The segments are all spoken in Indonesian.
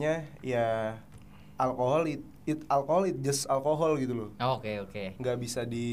nya ya alkohol it, it alkohol it just alkohol gitu loh Oh, Oke oke. Eh, nggak bisa di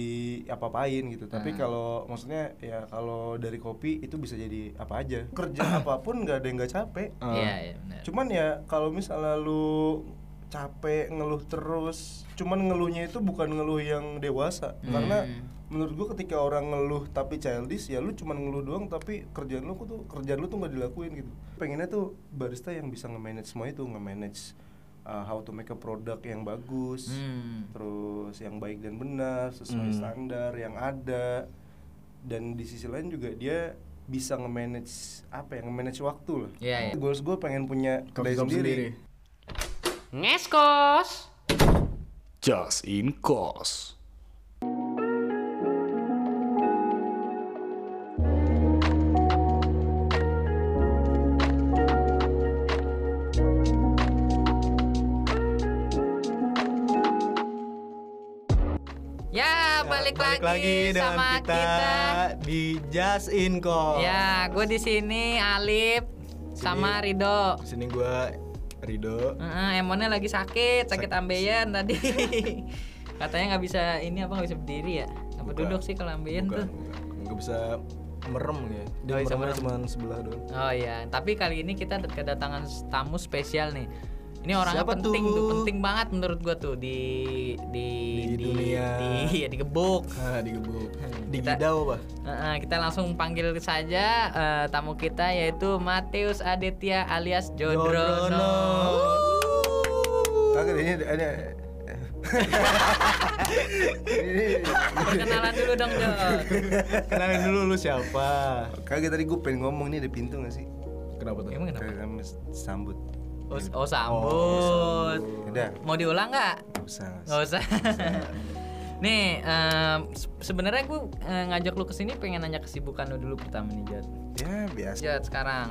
apa-apain gitu tapi Ah. kalau maksudnya ya kalau dari kopi itu bisa jadi apa aja kerja apapun nggak ada yang nggak capek Iya iya benar. cuman ya kalau misalnya lu capek ngeluh terus cuman ngeluhnya itu bukan ngeluh yang dewasa karena menurut gua ketika orang ngeluh tapi childish ya lu cuman ngeluh doang tapi kerjaan lu tuh kerjaan lu tuh nggak dilakuin gitu pengennya tuh barista yang bisa nge-manage semua itu nge-manage uh, how to make a product yang bagus Hmm. terus yang baik dan benar sesuai Hmm. standar yang ada dan di sisi lain juga dia bisa nge-manage apa ya nge-manage waktu lah Iya, iya. goals gue pengen punya kedai sendiri. Ngeskos. Just in Cause. Ya balik, Balik lagi, lagi dengan sama kita, Oh. di Just In Call. Ya gue di sini Alip sama Rido. Di sini gua Rido. Heeh, Emonnya lagi sakit, sakit ambeien tadi. Katanya nggak bisa ini apa nggak bisa berdiri ya? Apa Bukan. duduk sih kalau ambeien Bukan, tuh? Oh, iya, bukan. Nggak bisa merem ya. Dia Nggak bisa meremnya merem. cuma sebelah doang. Oh iya, tapi kali ini kita ada kedatangan tamu spesial nih. Ini orangnya Siapa penting tuh? tuh? penting banget menurut gua tuh di di Di dunia. di, ya, digebuk. Ah, digebuk. Hmm, kita- Digidau, Pak. Heeh, kita langsung panggil saja eh, tamu kita yaitu Mateus Aditya alias Jodrono. Jodrono. Kagak ini ada ada- ini Perkenalan dulu dong, Jod. Kenalin dulu lu siapa? kagak tadi gue pengen ngomong nih ada pintu gak sih Kenapa tuh? Ya, Emang kenapa? Kagak mes- sambut Oh, oh, sambut. Iya. udah Mau diulang nggak? nggak usah nggak usah. Nggak usah. Nih, em, se- sebenarnya gue ngajak lu kesini pengen nanya kesibukan lu dulu pertama nih, Jod. ya biasa Jod sekarang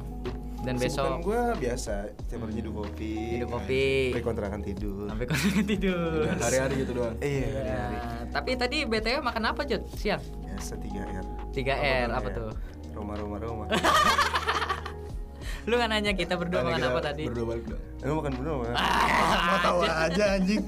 dan besok gue biasa tiap hari nyeduh kopi Nyeduh kopi. sampai kontrakan tidur sampai kau tidur. Udah, Hari-hari gitu doang. iya hari-hari. Nah, tapi tadi BTW makan apa, Jod? Siang. biasa 3 R ya? 3R apa tuh? Roma Roma Roma Lu kan nanya kita berdua Karena makan kita apa tadi? Berdua balik dong. Emang makan berdua Mas? Ah, Mau tahu aja anjing.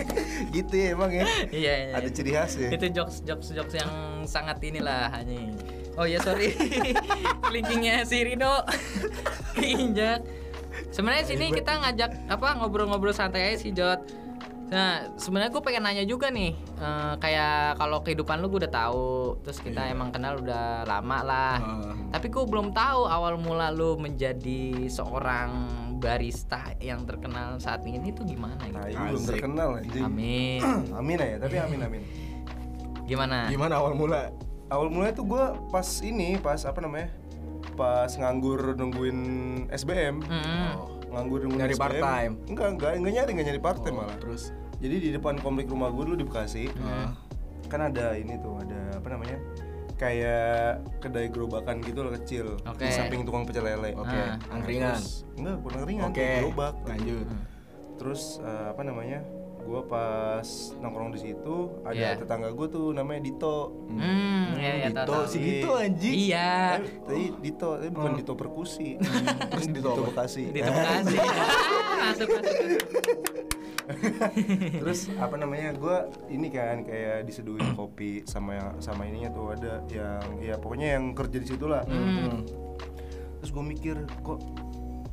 gitu ya emang ya Iya, iya. ada ciri khas ya Itu jokes jokes jokes yang sangat inilah anjing. Oh ya sorry. Linkingnya si Rido keinjak. Sebenarnya sini kita ngajak apa ngobrol-ngobrol santai aja sih Jot. Nah, sebenarnya gue pengen nanya juga nih, eh, kayak kalau kehidupan lu gue udah tahu, terus kita emang kenal udah lama lah. Ah. Tapi gue belum tahu awal mula lu menjadi seorang barista yang terkenal saat ini tuh gimana nah gitu. ini belum Asik. terkenal anjing Amin. Iya. amin aja tapi amin amin Gimana? Gimana awal mula? awal mulanya tuh gue pas ini pas apa namanya pas nganggur nungguin SBM Mm-mm. nganggur nungguin Nyari SBM. part-time. enggak enggak enggak nyari enggak nyari part time malah Terus jadi di depan komplek rumah gue dulu di Bekasi Hmm. kan ada ini tuh ada apa namanya kayak kedai gerobakan gitu loh kecil Oke. di samping tukang pecel lele oke, Ah. angkringan. Terus- enggak kurang ringan Oke. kayak gerobak Lanjut. terus eh, apa namanya gue pas nongkrong di situ Iya. ada tetangga gue tuh namanya Dito Hmm, iya iya tahu, Dito, tahu. si Dito anjing. Iya. tapi tapi Eh, Dito tapi bukan Dito perkusi terus Dito, Hmm. Dito apa? Bekasi Di tempat sih. Masuk masuk. terus apa namanya gue ini kan kayak diseduhin kopi sama sama ininya tuh ada yang ya pokoknya yang kerja di situ lah Hmm. Hmm. terus gue mikir kok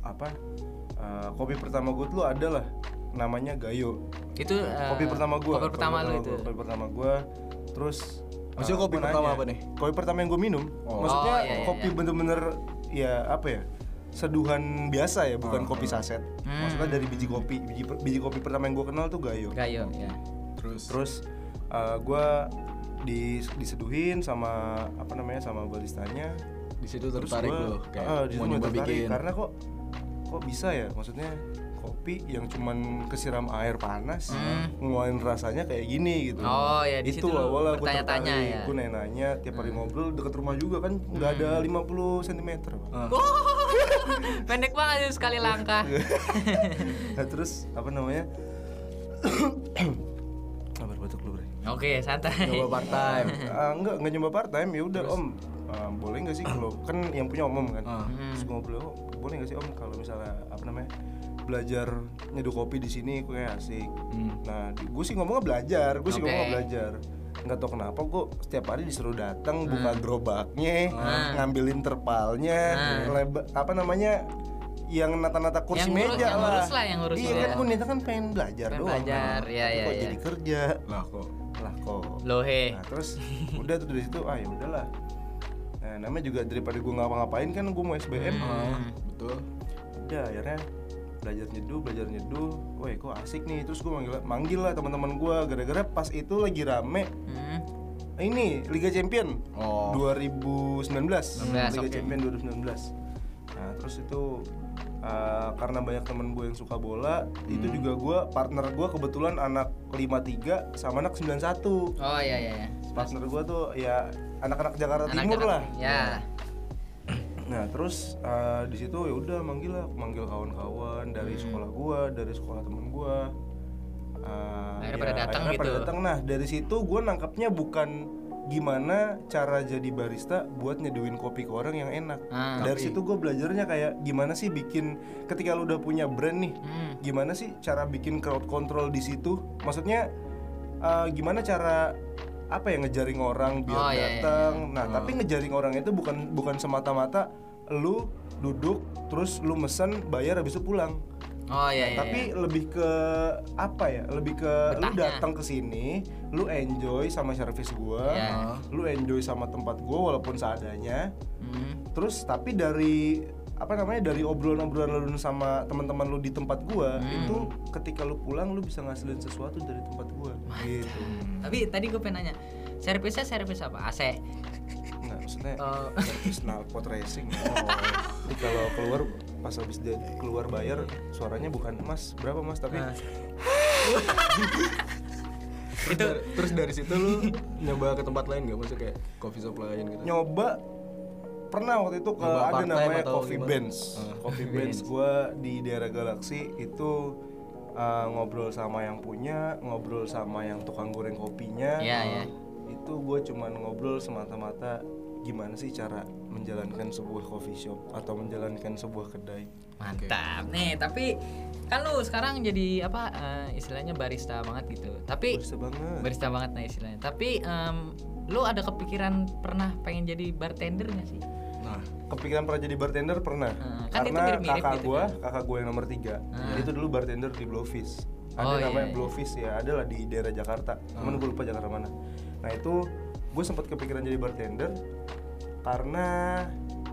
apa eh, kopi pertama gue tuh adalah namanya Gayo Itu eh, kopi pertama gue Kopi pertama lu itu. kopi pertama gue terus Maksudnya eh, kopi gua pertama nanya, apa nih? kopi pertama yang gue minum Oh. maksudnya Oh, iya, iya, kopi iya. bener-bener ya apa ya seduhan biasa ya Ah, bukan kopi saset Hmm. maksudnya dari biji kopi biji, biji kopi pertama yang gue kenal tuh Gayo Gayo ya. Terus terus gue di, diseduhin sama apa namanya sama baristanya di situ tertarik gua- lo kayak ah, di situ mau nyoba tertarik, bikin. karena kok kok bisa ya maksudnya kopi yang cuman kesiram air panas ngeluarin rasanya kayak gini gitu Hmm. Oh, ya, di itu situ lu awalnya gue bertanya-tanya tertarik ya. Hmm. gue nanya-nanya tiap hari ngobrol deket rumah juga kan nggak ada 50 cm Pak. Ah. Pendek banget itu sekali langkah. nah terus apa namanya kabar batuk lu Bre. Oke, santai. Nyoba part time. Ah, enggak enggak nyoba part time ya udah om ah, boleh nggak sih kalau kan yang punya om kan Ah. Hmm. terus gue ngobrol "Om, boleh nggak sih om kalau misalnya apa namanya belajar nyeduh kopi di sini kayak asik. Hmm. Nah, gue sih ngomongnya belajar, gue sih Oke. ngomongnya belajar. Nggak tau kenapa gue setiap hari disuruh datang Hmm. buka gerobaknya, Ah. ngambilin terpalnya, leba- apa namanya yang nata-nata kursi Yang ngurus- meja yang lah. ngurus lah, yang ngurus iya lah. ya. kan gue nita kan pengen belajar Pengen doang. belajar, Nah, ya, ya, kok ya. jadi kerja Lah kok. lah kok. Lohe. Nah, terus udah tuh dari situ ah ya udahlah. Nah, namanya juga daripada gue ngapa-ngapain kan gue mau SBM. Hmm. Nah. Betul. Udah Ya, akhirnya belajar nyeduh, belajar nyeduh. Woi, kok asik nih. Terus gue manggil manggil lah teman-teman gue gara-gara pas itu lagi rame Nah, Hmm. ini Liga Champion Oh. 2019. Liga oke. Champion 2019. Nah, terus itu uh, karena banyak temen gue yang suka bola, itu juga gue partner gue kebetulan anak 53 sama anak 91 Oh iya iya. iya. partner gue tuh ya anak-anak Jakarta Anak Timur Jakarta- lah Ya. nah terus eh, di situ ya udah manggil lah manggil kawan-kawan dari Hmm. sekolah gue dari sekolah temen gue Eh, Akhirnya pada datang akhirnya pada gitu. datang. nah dari situ gue nangkapnya bukan gimana cara jadi barista buat nyeduin kopi ke orang yang enak Ah. dari situ gue belajarnya kayak gimana sih bikin ketika lu udah punya brand nih Hmm. gimana sih cara bikin crowd control di situ? Maksudnya eh, gimana cara apa ya ngejaring orang biar Oh, iya, iya, datang? Nah, tapi ngejaring orang itu bukan bukan semata-mata lu duduk terus lu mesen bayar habis itu pulang. Oh iya iya. Tapi lebih ke apa ya? Lebih ke lu Betahnya. datang ke sini, lu enjoy sama service gua, Iya. lu enjoy sama tempat gua walaupun seadanya. Hmm. Terus tapi dari apa namanya dari obrolan-obrolan lu sama teman-teman lu di tempat gua itu ketika lu pulang lu bisa ngasilin sesuatu dari tempat gua gitu. Tapi tadi gue pengen nanya, servisnya servis apa? AC. Enggak maksudnya Oh. service knalpot racing. Oh. Jadi kalau keluar pas habis dia keluar bayar suaranya bukan Mas berapa Mas tapi Terus, dari, terus dari situ lu nyoba ke tempat lain gak? Maksudnya kayak coffee shop lain gitu. nyoba pernah waktu itu ke Nyoba ada part-time namanya atau Coffee gimana? Benz. Ah. Coffee Benz gua di daerah Galaxy itu uh, ngobrol sama yang punya, ngobrol sama yang tukang goreng kopinya. Iya, iya. Itu gue cuman ngobrol semata-mata gimana sih cara menjalankan sebuah coffee shop atau menjalankan sebuah kedai. Mantap. Nih, tapi kan lu sekarang jadi apa eh, istilahnya barista banget gitu. Tapi Bisa banget. barista banget nah istilahnya. Tapi em, lu ada kepikiran pernah pengen jadi bartender gak sih? Nah, Kepikiran pernah jadi bartender pernah. Ah, kan itu Karena mirip-mirip kakak gitu gue, kakak gue yang nomor tiga, itu dulu bartender di Blowfish. Ada Oh, iya, namanya iya. Blowfish ya, ada lah di daerah Jakarta. Cuman gue lupa Jakarta mana. Nah itu gue sempat kepikiran jadi bartender karena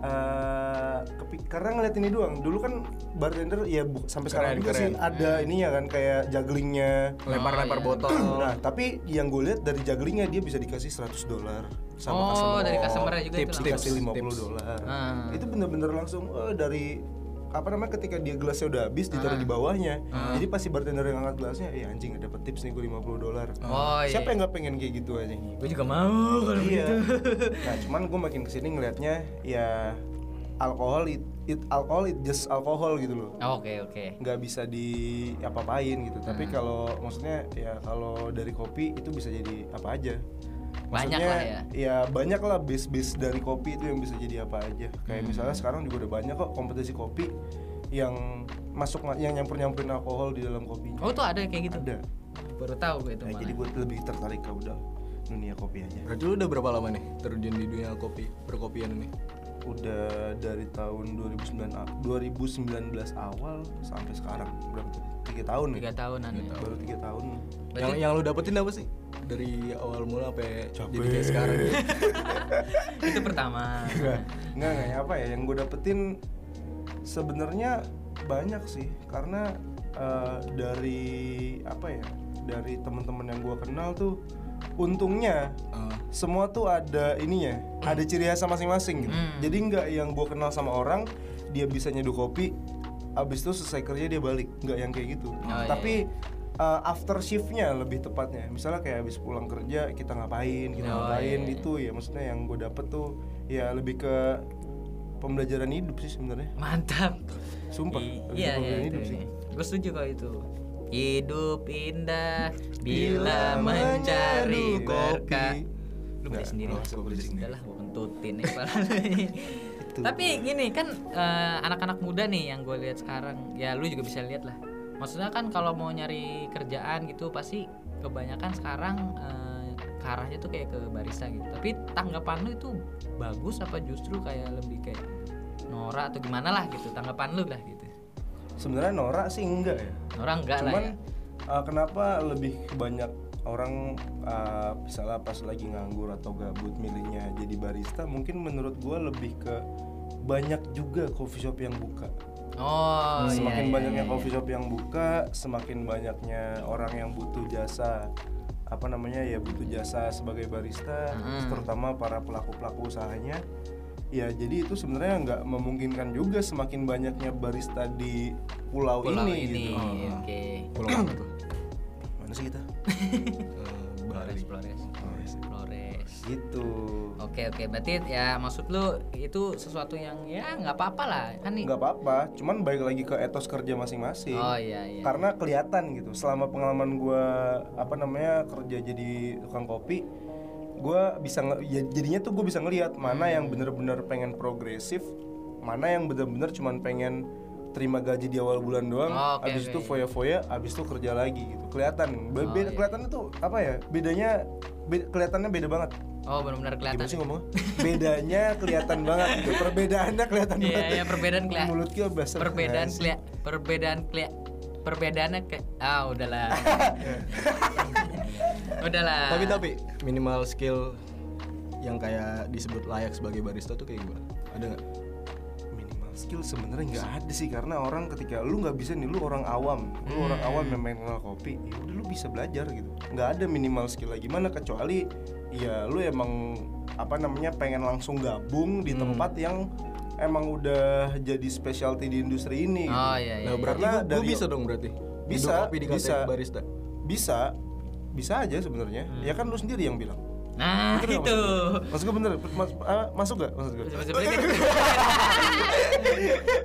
eh kepi- karena ngeliat ini doang dulu kan bartender ya bu- sampai Keren, sekarang juga sih keren. ada Hmm. ininya kan kayak jugglingnya lempar-lempar botol. nah tapi yang gue lihat dari jugglingnya dia bisa dikasih 100 dolar sama oh, customer. dari customer Iya. juga tips, itu tips. dikasih 50 tips. dolar Ah. itu bener-bener langsung eh, dari apa namanya ketika dia gelasnya udah habis ditaruh Ah. di bawahnya jadi pasti bartender yang angkat gelasnya ya anjing ada dapet tips nih gue 50 dolar Oh, iya. Gitu. siapa yang nggak pengen kayak gitu aja Gue juga mau kalau iya nah cuman gue makin kesini ngelihatnya ya alkohol it, it alkohol it just alkohol gitu loh Oh, Oke, oke. nggak bisa di apa-apain gitu tapi Hmm. kalau maksudnya ya kalau dari kopi itu bisa jadi apa aja Banyak lah ya. banyak lah bis-bis dari kopi itu yang bisa jadi apa aja kayak Hmm. misalnya sekarang juga udah banyak kok kompetisi kopi yang masuk yang nyampur nyampurin alkohol di dalam kopinya Oh, tuh ada yang kayak gitu. ada Baru tahu gue itu. Nah, malah. jadi gue lebih tertarik ke udah dunia kopi aja Berarti lu udah berapa lama nih terjun di dunia kopi, perkopian ini? udah dari tahun 2009 a- 2019 awal sampai sekarang berapa tiga tahun tiga ya tahunan ya. baru tiga tahun Yang yang lu dapetin apa sih? Dari awal mula sampai jadi kayak sekarang. ya. itu pertama. Enggak, enggak, enggak. Apa ya yang gue dapetin sebenarnya banyak sih karena eh, dari apa ya dari teman-teman yang gue kenal tuh untungnya Ah. semua tuh ada ininya Hmm. ada ciri khasnya masing-masing gitu. jadi nggak yang gue kenal sama orang dia bisa nyeduh kopi abis itu selesai kerja dia balik nggak yang kayak gitu iya, tapi eh, after shiftnya lebih tepatnya misalnya kayak abis pulang kerja kita ngapain kita Oh, ngapain iya. itu ya maksudnya yang gue dapet tuh ya lebih ke pembelajaran hidup sih sebenarnya Mantap. sumpah I- lebih iya iya ke pembelajaran itu. hidup sih Gue setuju kalau itu. Hidup indah Iya. bila mencari menyeduh kopi. berkah. Lu beli Nggak, sendiri nggak lah, usah gua beli beli sendiri sendiri. lah, gue kentutin nih gitu Tapi gini kan eh, anak-anak muda nih yang gue lihat sekarang, ya lu juga bisa lihat lah. Maksudnya kan kalau mau nyari kerjaan gitu pasti kebanyakan sekarang eh, ke arahnya tuh kayak ke barista gitu. Tapi tanggapan lu itu bagus apa justru kayak lebih kayak Nora atau gimana lah gitu tanggapan lu lah gitu. sebenarnya norak sih enggak ya Nora enggak lah cuman ya. uh, kenapa lebih banyak orang uh, misalnya pas lagi nganggur atau gabut milihnya jadi barista mungkin menurut gua lebih ke banyak juga coffee shop yang buka Oh, iya, semakin iya, banyaknya iya, coffee shop yang buka semakin banyaknya orang yang butuh jasa apa namanya ya butuh jasa sebagai barista Mm-mm. terutama para pelaku pelaku usahanya ya jadi itu sebenarnya nggak memungkinkan juga semakin banyaknya barista di pulau, Pulau ini, ini, gitu oke. Pulau apa tuh? mana sih kita Eh, Flores, Bali. Flores, Flores. gitu Oke oke, berarti ya maksud lu itu sesuatu yang ya nggak apa-apa lah kan nih. nggak apa-apa cuman balik lagi ke etos kerja masing-masing Oh iya iya. karena kelihatan gitu selama pengalaman gua apa namanya kerja jadi tukang kopi gua bisa nge- ya jadinya tuh gue bisa ngelihat mana yang bener-bener pengen progresif mana yang bener-bener cuman pengen terima gaji di awal bulan doang Oh, oke, abis oke. itu foya-foya abis itu kerja lagi gitu kelihatan Be- Oh, beda- iya. kelihatan itu apa ya bedanya be- kelihatannya beda banget Oh benar-benar kelihatan. gimana sih ngomongnya bedanya kelihatan banget gitu perbedaannya kelihatan Iya banget iya perbedaan kelihatan. mulut gue bahasa Perbedaan Perancis. kelihatan. Perbedaan kelihatan. Perbedaannya ke ah udahlah. udahlah. Tapi tapi minimal skill yang kayak disebut layak sebagai barista tuh kayak gimana? Ada nggak? minimal skill sebenarnya nggak ada sih karena orang ketika lu nggak bisa nih lu orang awam lu orang awam yang main kenal kopi ya udah lu bisa belajar gitu nggak ada minimal skill lagi mana kecuali ya lu emang apa namanya pengen langsung gabung di tempat yang emang udah jadi specialty di industri ini gitu. Oh iya iya. Nah iya. berarti gua, Karena gua dari- bisa dong berarti. Bisa, Minum kopi dikatain bisa. barista. bisa bisa aja sebenarnya ya kan lu sendiri yang bilang Nah Bener nggak itu. maksud gue bener mas, ah, masuk gak maksud gue Sebenarnya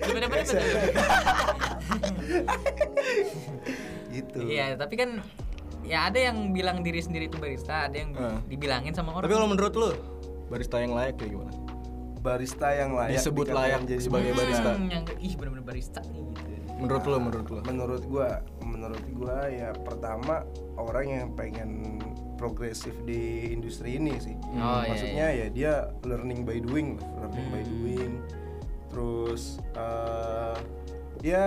bener bener gitu Iya tapi kan ya ada yang bilang diri sendiri itu barista, ada yang Eh. dibilangin sama orang. Tapi kalau menurut lu barista yang layak kayak gimana? barista yang layak Disebut dikatakan layak sebagai barista. Hmm, yang ih bener-bener barista nih gitu. Menurut lu, menurut lu. menurut gua menurut gua ya pertama orang yang pengen progresif di industri ini sih Oh, iya, Hmm. maksudnya ya dia learning by doing lah, learning by doing terus eh, ya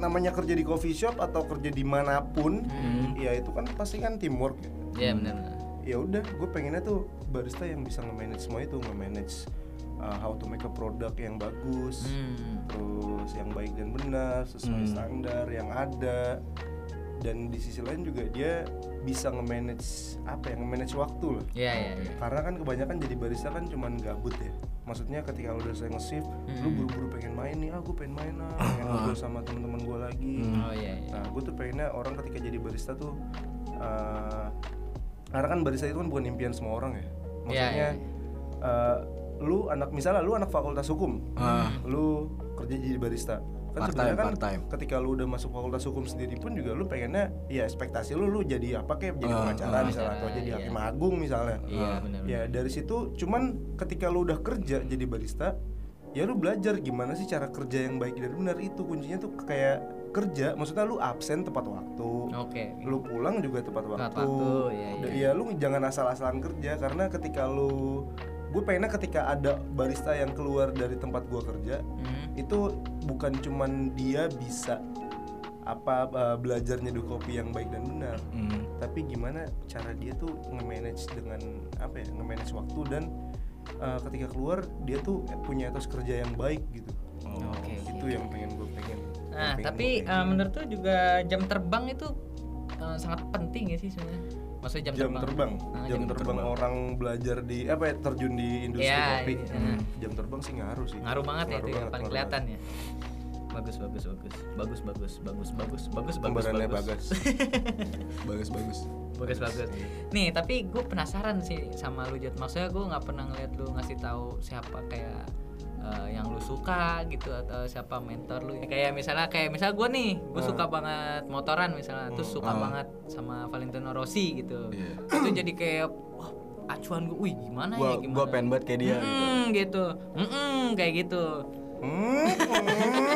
namanya kerja di coffee shop atau kerja dimanapun Hmm. ya itu kan pasti kan teamwork ya Iya benar-benar. ya udah gue pengennya tuh barista yang bisa nge-manage semua itu nge-manage eh, how to make a product yang bagus Hmm. terus yang baik dan benar sesuai standar yang ada dan di sisi lain juga dia bisa nge-manage apa yang nge-manage waktu loh Iya iya iya. karena kan kebanyakan jadi barista kan cuman gabut ya maksudnya ketika lu udah selesai nge-shift lu buru-buru pengen main nih ah gue pengen main ah pengen ngobrol sama teman-teman gue lagi Oh iya iya. Nah, gue tuh pengennya orang ketika jadi barista tuh eh karena kan barista itu kan bukan impian semua orang ya. Maksudnya iya. eh, lu anak misalnya lu anak fakultas hukum, lu kerja jadi barista. Kan Part sebenarnya time, kan part time. ketika lu udah masuk fakultas hukum sendiri pun juga lu pengennya ya ekspektasi lu lu jadi apa kayak jadi pengacara misalnya atau jadi iya. hakim agung misalnya. Iya benar-benar. Ya dari situ cuman ketika lu udah kerja jadi barista ya lu belajar gimana sih cara kerja yang baik dan benar itu kuncinya tuh kayak kerja maksudnya lu absen tepat waktu Oke. lu pulang juga tepat waktu, Tepat waktu, iya, Da- ya lu jangan asal-asalan kerja karena ketika lu gue pengennya ketika ada barista yang keluar dari tempat gua kerja Hmm. itu bukan cuman dia bisa apa eh, belajar nyeduh kopi yang baik dan benar Hmm. tapi gimana cara dia tuh nge-manage dengan apa ya nge-manage waktu dan uh, ketika keluar dia tuh punya etos kerja yang baik gitu Oke, oke, itu yang pengen gue pengen Nah, Yang pengen tapi gua eh, menurut tuh juga jam terbang itu eh, sangat penting ya sih sebenarnya. Maksudnya jam, pengen. jam terbang Ah, jam, jam terbang, terbang. orang belajar di apa ya terjun di industri Iya, kopi iya. Hmm, jam terbang sih ngaruh sih Ngaruh banget ya itu ya, banget, paling ngaruh kelihatan ya. Bagus bagus bagus. Bagus bagus bagus bagus bagus banget. bagus Kembarannya bagus. bagas Bagus, bagus. bagus bagus nih tapi gue penasaran sih sama lu Jat maksudnya gue nggak pernah ngeliat lu ngasih tahu siapa kayak eh, yang lu suka gitu atau siapa mentor lu kayak misalnya kayak misal gue nih gue suka Hmm. banget Iya. motoran misalnya terus suka banget sama Valentino Rossi gitu itu jadi kayak wah acuan gue, wih gimana gua ya gimana? gua pengen banget kayak dia gitu. Hmm, gitu, hmm, kayak gitu. Hmm.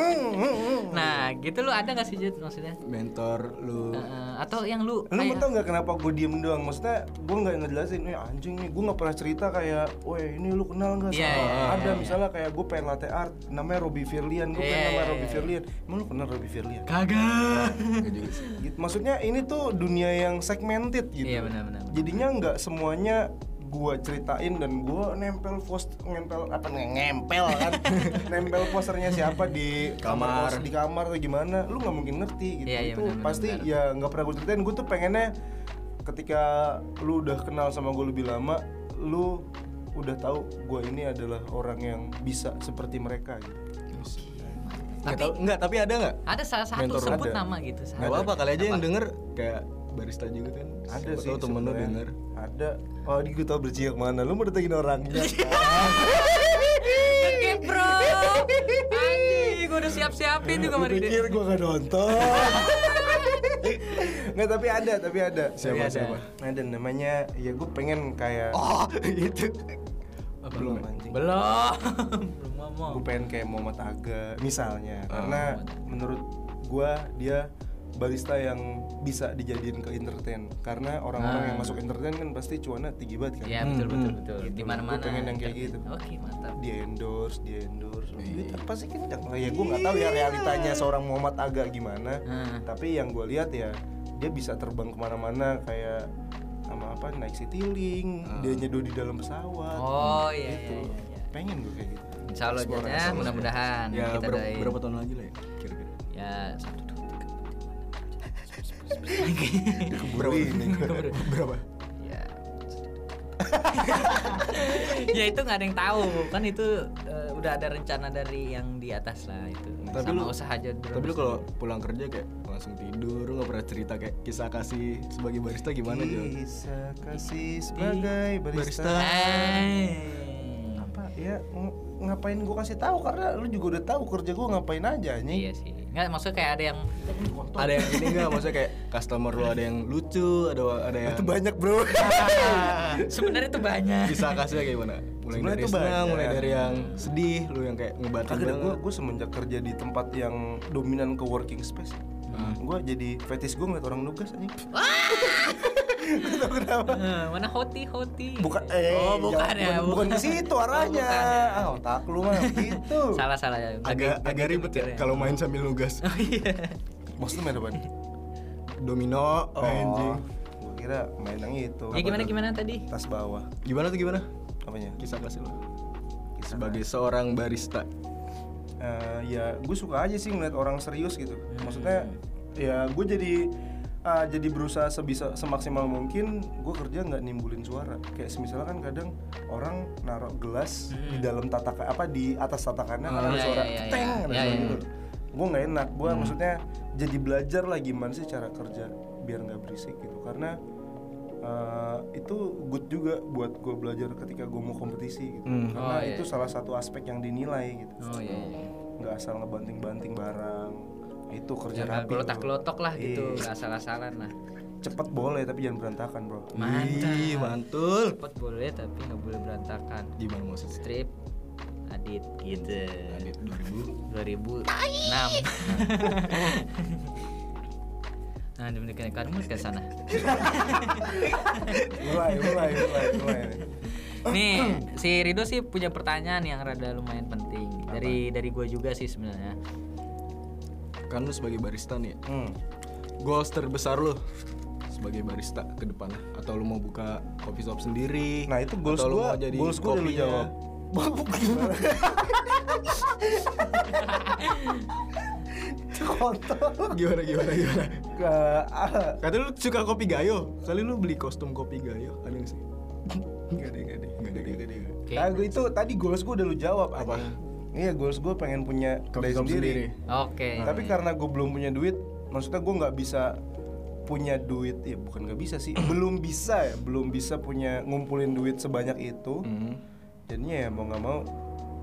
Nah, gitu lu ada gak sih Jud maksudnya? mentor lu Eh, atau yang lu, Lu mau kayak- tau nggak kenapa gue diem doang? Maksudnya gue nggak ngejelasin, eh anjing nih gue nggak pernah cerita kayak, weh ini lu kenal nggak sama Iya, iya, iya, ada iya. misalnya kayak gue pengen latte art, namanya Robby Firlian, gue Iya, pengen nama iya, Robby iya. Firlian, emang lu kenal Robby Firlian? kagak Nggak juga sih. Gitu. Maksudnya ini tuh dunia yang segmented gitu. Iya, benar, benar, benar. Jadinya nggak semuanya gue ceritain dan gue nempel post nempel apa nge- ngempel kan nempel posternya siapa di Kamar. kamar, kos, di kamar atau gimana lu nggak mungkin ngerti gitu Iya, iya, itu benar, benar, pasti benar. ya nggak pernah gue ceritain gue tuh pengennya ketika lu udah kenal sama gue lebih lama lu udah tahu gue ini adalah orang yang bisa seperti mereka gitu nggak tahu nggak tapi ada nggak ada salah satu Mentor sebut ada. nama gitu. nggak apa satu. apa kali aja yang denger kayak barista juga kan ada Siapa sih tahu temen lu sebenarnya. denger ada oh ini gue tau berciak mana lu mau datengin orangnya Oke bro, anjing gue udah siap-siapin juga Lu mari pikir gue gak nonton Nggak tapi ada tapi ada Siapa, Ada. siapa? ada namanya ya gue pengen kayak oh gitu belum anjing Belum, belum ngomong. gue pengen kayak Muhammad Aga misalnya karena menurut gue dia barista yang bisa dijadiin ke entertain karena orang-orang Ah. yang masuk entertain kan pasti cuannya tinggi banget kan Iya betul Hmm, betul betul. Gitu. Di mana mana. Gua pengen yang kayak gitu. Oke mantap. di endorse di endorse Iya. pasti kencang lah ya gue nggak tahu ya realitanya seorang Muhammad Aga gimana Ah. tapi yang gue lihat ya dia bisa terbang kemana-mana kayak sama apa naik citylink dia nyeduh di dalam pesawat Hmm. Oh iya gitu iya. iya. pengen gue kayak gitu Insya Allah Jad, ya, mudah-mudahan ya kita ber- doain. berapa tahun lagi lah ya kira-kira Ya satu dua tiga. Bro ini berapa Ya. ya itu nggak ada yang tahu kan itu eh, udah ada rencana dari yang di atas lah itu Tapi lu- sama usaha aja dulu. tapi lu kalau pulang kerja kayak langsung tidur lu nggak pernah cerita kayak kisah kasih sebagai barista gimana Jo? bisa kasih sebagai barista, barista. Eh. apa ya ng- ngapain gue kasih tahu karena lu juga udah tahu kerja gue ngapain aja nih Iya sih. Nggak maksudnya kayak ada yang ada yang ini nggak maksudnya kayak customer lu ada yang lucu ada ada yang itu banyak bro sebenarnya itu banyak. kisah kasihnya kayak gimana mulai Sebenarnya dari tuh senang mulai banyak. dari yang sedih lu yang kayak ngebatin Akhirnya gue banget gue semenjak kerja di tempat yang dominan ke working space, gue jadi fetish gue ngeliat orang nugas aja. Eh, mana hoti hoti. Bukan, eh, oh bukan ya. jangan- bukan, bukan ke situ arahnya. bukan ya. Ah, otak lu mah gitu. Salah salah ya. agak agak ribet ya kalau main sambil nugas Oh iya. Maksud lu main apaan? domino Oh, anjing Gue kira main yang itu. Ya gimana gimana tadi? Tas bawah. gimana tuh gimana Apanya? kisah kasih lu sebagai seorang barista Eh, ya gue suka aja sih ngeliat orang serius gitu Hmm. maksudnya ya gue jadi ah, jadi berusaha sebisa semaksimal mungkin gue kerja nggak nimbulin suara kayak misalnya kan kadang orang naruh gelas di Hmm. dalam tataka apa di atas tatakannya karena ada iya, suara iya, iya, iya. teng ada Iya, suara iya. gitu gue nggak enak gue Hmm. maksudnya jadi belajar lah gimana sih cara kerja biar nggak berisik gitu karena eh, itu good juga buat gue belajar ketika gue mau kompetisi gitu karena Oh, iya. itu salah satu aspek yang dinilai gitu Oh iya. iya. nggak asal ngebanting-banting barang itu Ya, kerja rapi bro. kelotak kelotok lah gitu, Iya. nggak salah salah lah. cepet boleh tapi jangan berantakan bro Mantap. Ih, mantul Cepet boleh tapi nggak boleh berantakan. gimana maksudnya Strip, adit gitu. Adit 2000 2006. nah, demikian kamu ke sana. mulai mulai mulai mulai Nih, si Rido sih punya pertanyaan yang rada lumayan penting dari dari gue juga sih sebenarnya. kan lu sebagai barista nih hmm. goals terbesar lu sebagai barista ke depan atau lu mau buka coffee shop sendiri nah itu goals atau lu gua mau jadi goals gua udah lu kopinya. jawab kontol gimana gimana gimana ke ah, kata lu suka kopi gayo kali lu beli kostum kopi gayo ada nggak sih nggak ada nggak ada nggak ada nggak ada nggak ada. Oke. nah, gua itu tadi goals gua udah lu jawab Apa? anjing. iya goals gua pengen punya coffee kedai shop sendiri sendiri. Nah, Oke. tapi karena gue belum punya duit maksudnya gue nggak bisa punya duit ya bukan nggak bisa sih belum bisa ya belum bisa punya ngumpulin duit sebanyak itu Hmm. jadinya ya mau nggak mau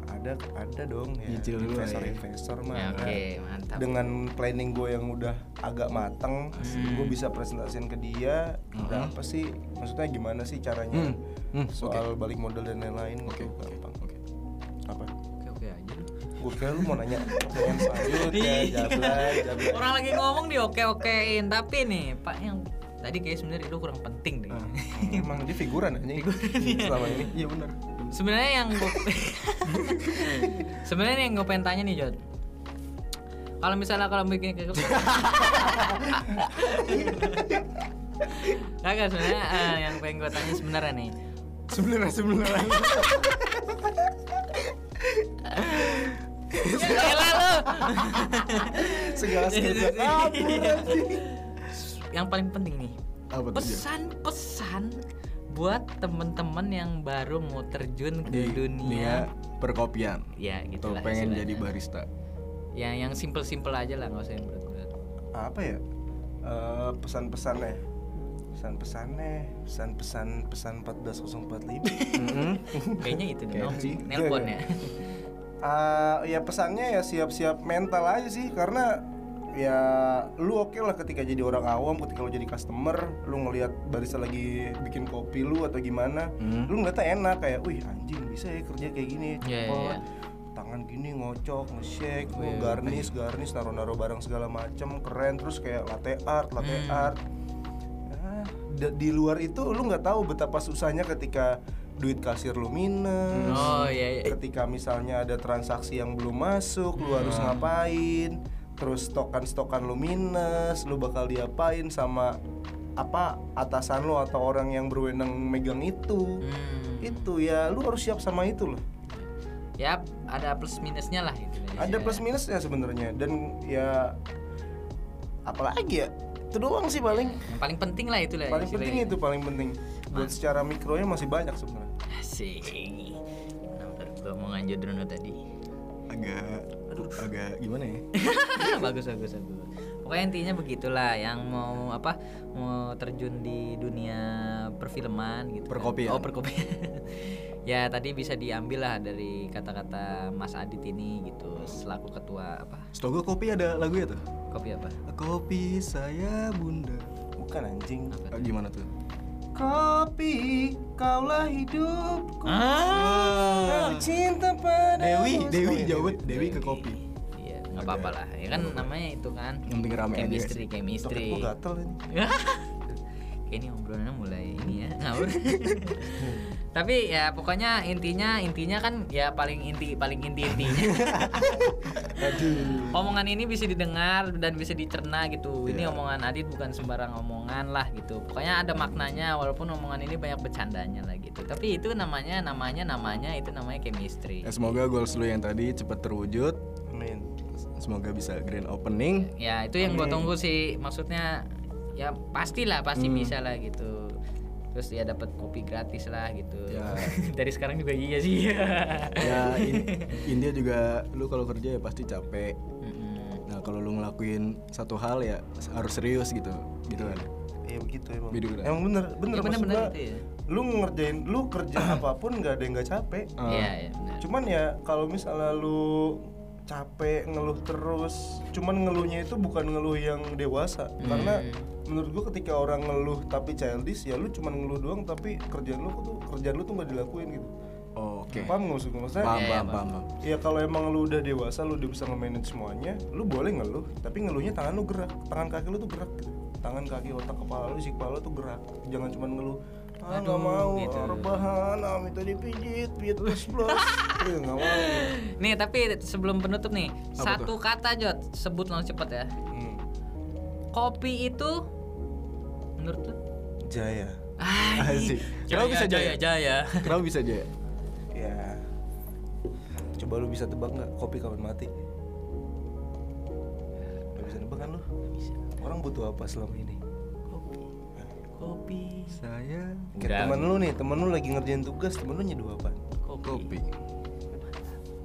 ah, ada ada dong ya Nyicil dulu lah ya. investor investor mah Ya, ada. Oke, mantap. dengan planning gue yang udah agak mateng gue bisa presentasiin ke dia berapa sih maksudnya gimana sih caranya Hmm, hmm, soal balik modal dan lain-lain Oke, gitu, oke, gampang oke. apa Oke, oke aja. lu. gue kira lu mau nanya pertanyaan selanjutnya Iya. jablay jablay Orang lagi ngomong di oke-okein, tapi nih, Pak yang tadi kayak sebenarnya itu kurang penting deh. Nah. emang dia figuran aja selama ini Iya benar. sebenarnya yang gue sebenarnya yang gue pengen tanya nih Jod kalau misalnya kalau bikin gitu- ke Kagak sebenarnya eh, yang pengen gue tanya sebenarnya nih Sebenarnya sebenarnya. Ya elah lu. segala skillnya kabur yang paling penting nih Apa tuh? Jam? pesan-pesan buat temen-temen yang baru mau terjun Di ke iya. dunia perkopian. ya gitu Atau lah pengen istilahnya. jadi barista. yang yang simple-simple aja lah nggak usah yang berat-berat apa ya Eh, pesan-pesannya pesan-pesannya pesan-pesan pesan 14045 kayaknya itu deh Kayak Nom. sih. nelpon ya Ah, ya pesannya ya siap-siap mental aja sih karena ya lu oke lah ketika jadi orang awam ketika lu jadi customer lu ngelihat barista lagi bikin kopi lu atau gimana Hmm. lu ngeliatnya enak kayak wih anjing bisa ya kerja kayak gini Iya, cepet." iya, iya. tangan gini ngocok nge-shake Iya, lu iya. garnish garnish taruh-naruh barang segala macem keren terus kayak latte art latte Hmm. art Ah, da- di luar itu lu nggak tahu betapa susahnya ketika duit kasir lu minus oh iya iya ketika misalnya ada transaksi yang belum masuk lu harus ngapain terus stokan-stokan lu minus lu bakal diapain sama apa atasan lu atau orang yang berwenang megang itu Hmm. itu ya lu harus siap sama itu loh Yap, ada plus minusnya lah gitu. ada plus minusnya sebenarnya dan ya apalagi ya itu doang sih paling Yang paling penting lah itu lah. paling istilahnya. penting itu paling penting buat secara mikronya masih banyak sebenarnya Asik. Nah, menurut gua mau lanjut Bruno tadi. Agak agak gimana ya? bagus bagus bagus. Pokoknya intinya begitulah yang mau apa mau terjun di dunia perfilman gitu. kan. Perkopian. Oh, perkopian. ya, tadi bisa diambil lah dari kata-kata Mas Adit ini gitu selaku ketua apa? Setahu gue kopi ada lagu ya tuh. Kopi apa? Kopi saya bunda. bukan anjing Apa Ah, tuh? gimana tuh? kopi kaulah hidupku Ah. Aku cinta ya, pada Dewi, Dewi jawab Dewi ke kopi. Iya, nggak apa-apa lah. Ya kan namanya itu kan. Yang penting rame aja. Chemistry, chemistry. Gue gatel ini Kayak ini obrolannya mulai ini ya ngawur. Tapi ya pokoknya intinya intinya kan ya paling inti paling inti intinya. omongan ini bisa didengar dan bisa dicerna gitu. Ini Iya. omongan Adit bukan sembarang omongan lah gitu. Pokoknya ada maknanya walaupun omongan ini banyak bercandanya lah gitu. Tapi itu namanya namanya namanya itu namanya chemistry. Ya, semoga goals lu yang tadi cepat terwujud. Amin Semoga bisa grand opening. ya itu yang gue tunggu sih maksudnya ya pastilah pasti Hmm. bisa lah gitu terus ya dapat kopi gratis lah gitu Ya. dari sekarang juga iya sih Ya in- India juga lu kalau kerja ya pasti capek. Mm-mm. Nah kalau lu ngelakuin satu hal ya harus serius gitu, gitu kan? Gitu, Ya begitu emang Bidu udah. Emang bener Bener, Ya, maksud bener-bener gua, gitu ya. Lu ngerjain Lu kerja apapun nggak ada yang nggak capek Ah. Iya, iya, benar. Cuman ya kalau misalnya lu capek ngeluh terus cuman ngeluhnya itu bukan ngeluh yang dewasa Hmm. karena menurut gua ketika orang ngeluh tapi childish ya lu cuman ngeluh doang tapi kerjaan lu tuh kerjaan lu tuh nggak dilakuin gitu Oke. paham nggak maksud gua? maksudnya Paham, Iya, paham, iya, paham, paham. Ya kalau emang lu udah dewasa, lu udah bisa nge-manage semuanya, lu boleh ngeluh, tapi ngeluhnya tangan lu gerak, tangan kaki lu tuh gerak gitu. Tangan kaki, otak kepala lu, isi kepala lu tuh gerak. Jangan cuma ngeluh, ah nggak mau, gitu. gitu. rebahan, ah minta dipijit, pijit plus plus, Iya, nggak mau. nih tapi sebelum penutup nih satu kata Jod sebut langsung cepet ya Hmm. kopi itu menurut lu Jaya, Ah, Asik. Kenapa bisa jaya? jaya Kenapa bisa jaya? ya. Coba lu bisa tebak nggak kopi kapan mati? Gak bisa tebak kan lu? bisa. Orang butuh apa selama ini? kopi kopi Saya Udah. Kayak temen lu nih, temen lu lagi ngerjain tugas, temen lu nyeduh apa? kopi kopi.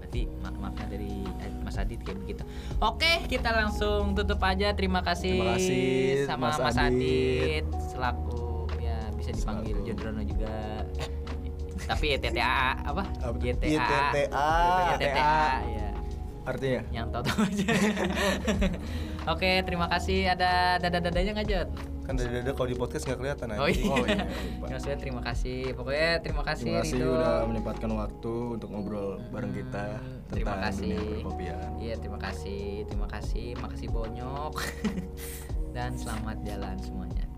berarti mak- makna dari eh, Mas Adit kayak begitu. Oke, kita langsung tutup aja. Terima kasih, Terima kasih, sama Mas, Mas Adit. Adit. selaku ya bisa dipanggil Selaku. Jodrono juga. tapi YTTA apa? Apa tuh? YTA. YTTA. YTTA, ya. Artinya? Yang tahu-tahu aja. Oke, terima kasih ada dada-dadanya nggak Jod? Kan dari dada kalau di podcast nggak kelihatan aja. Oh iya. Oh, iya, lupa. Maksudnya terima kasih. Pokoknya terima kasih Terima kasih Rido. udah menyempatkan waktu untuk ngobrol bareng kita Hmm, terima tentang kasih. dunia perkopian. Iya, terima kasih. Terima kasih. Makasih bonyok. Dan selamat jalan semuanya.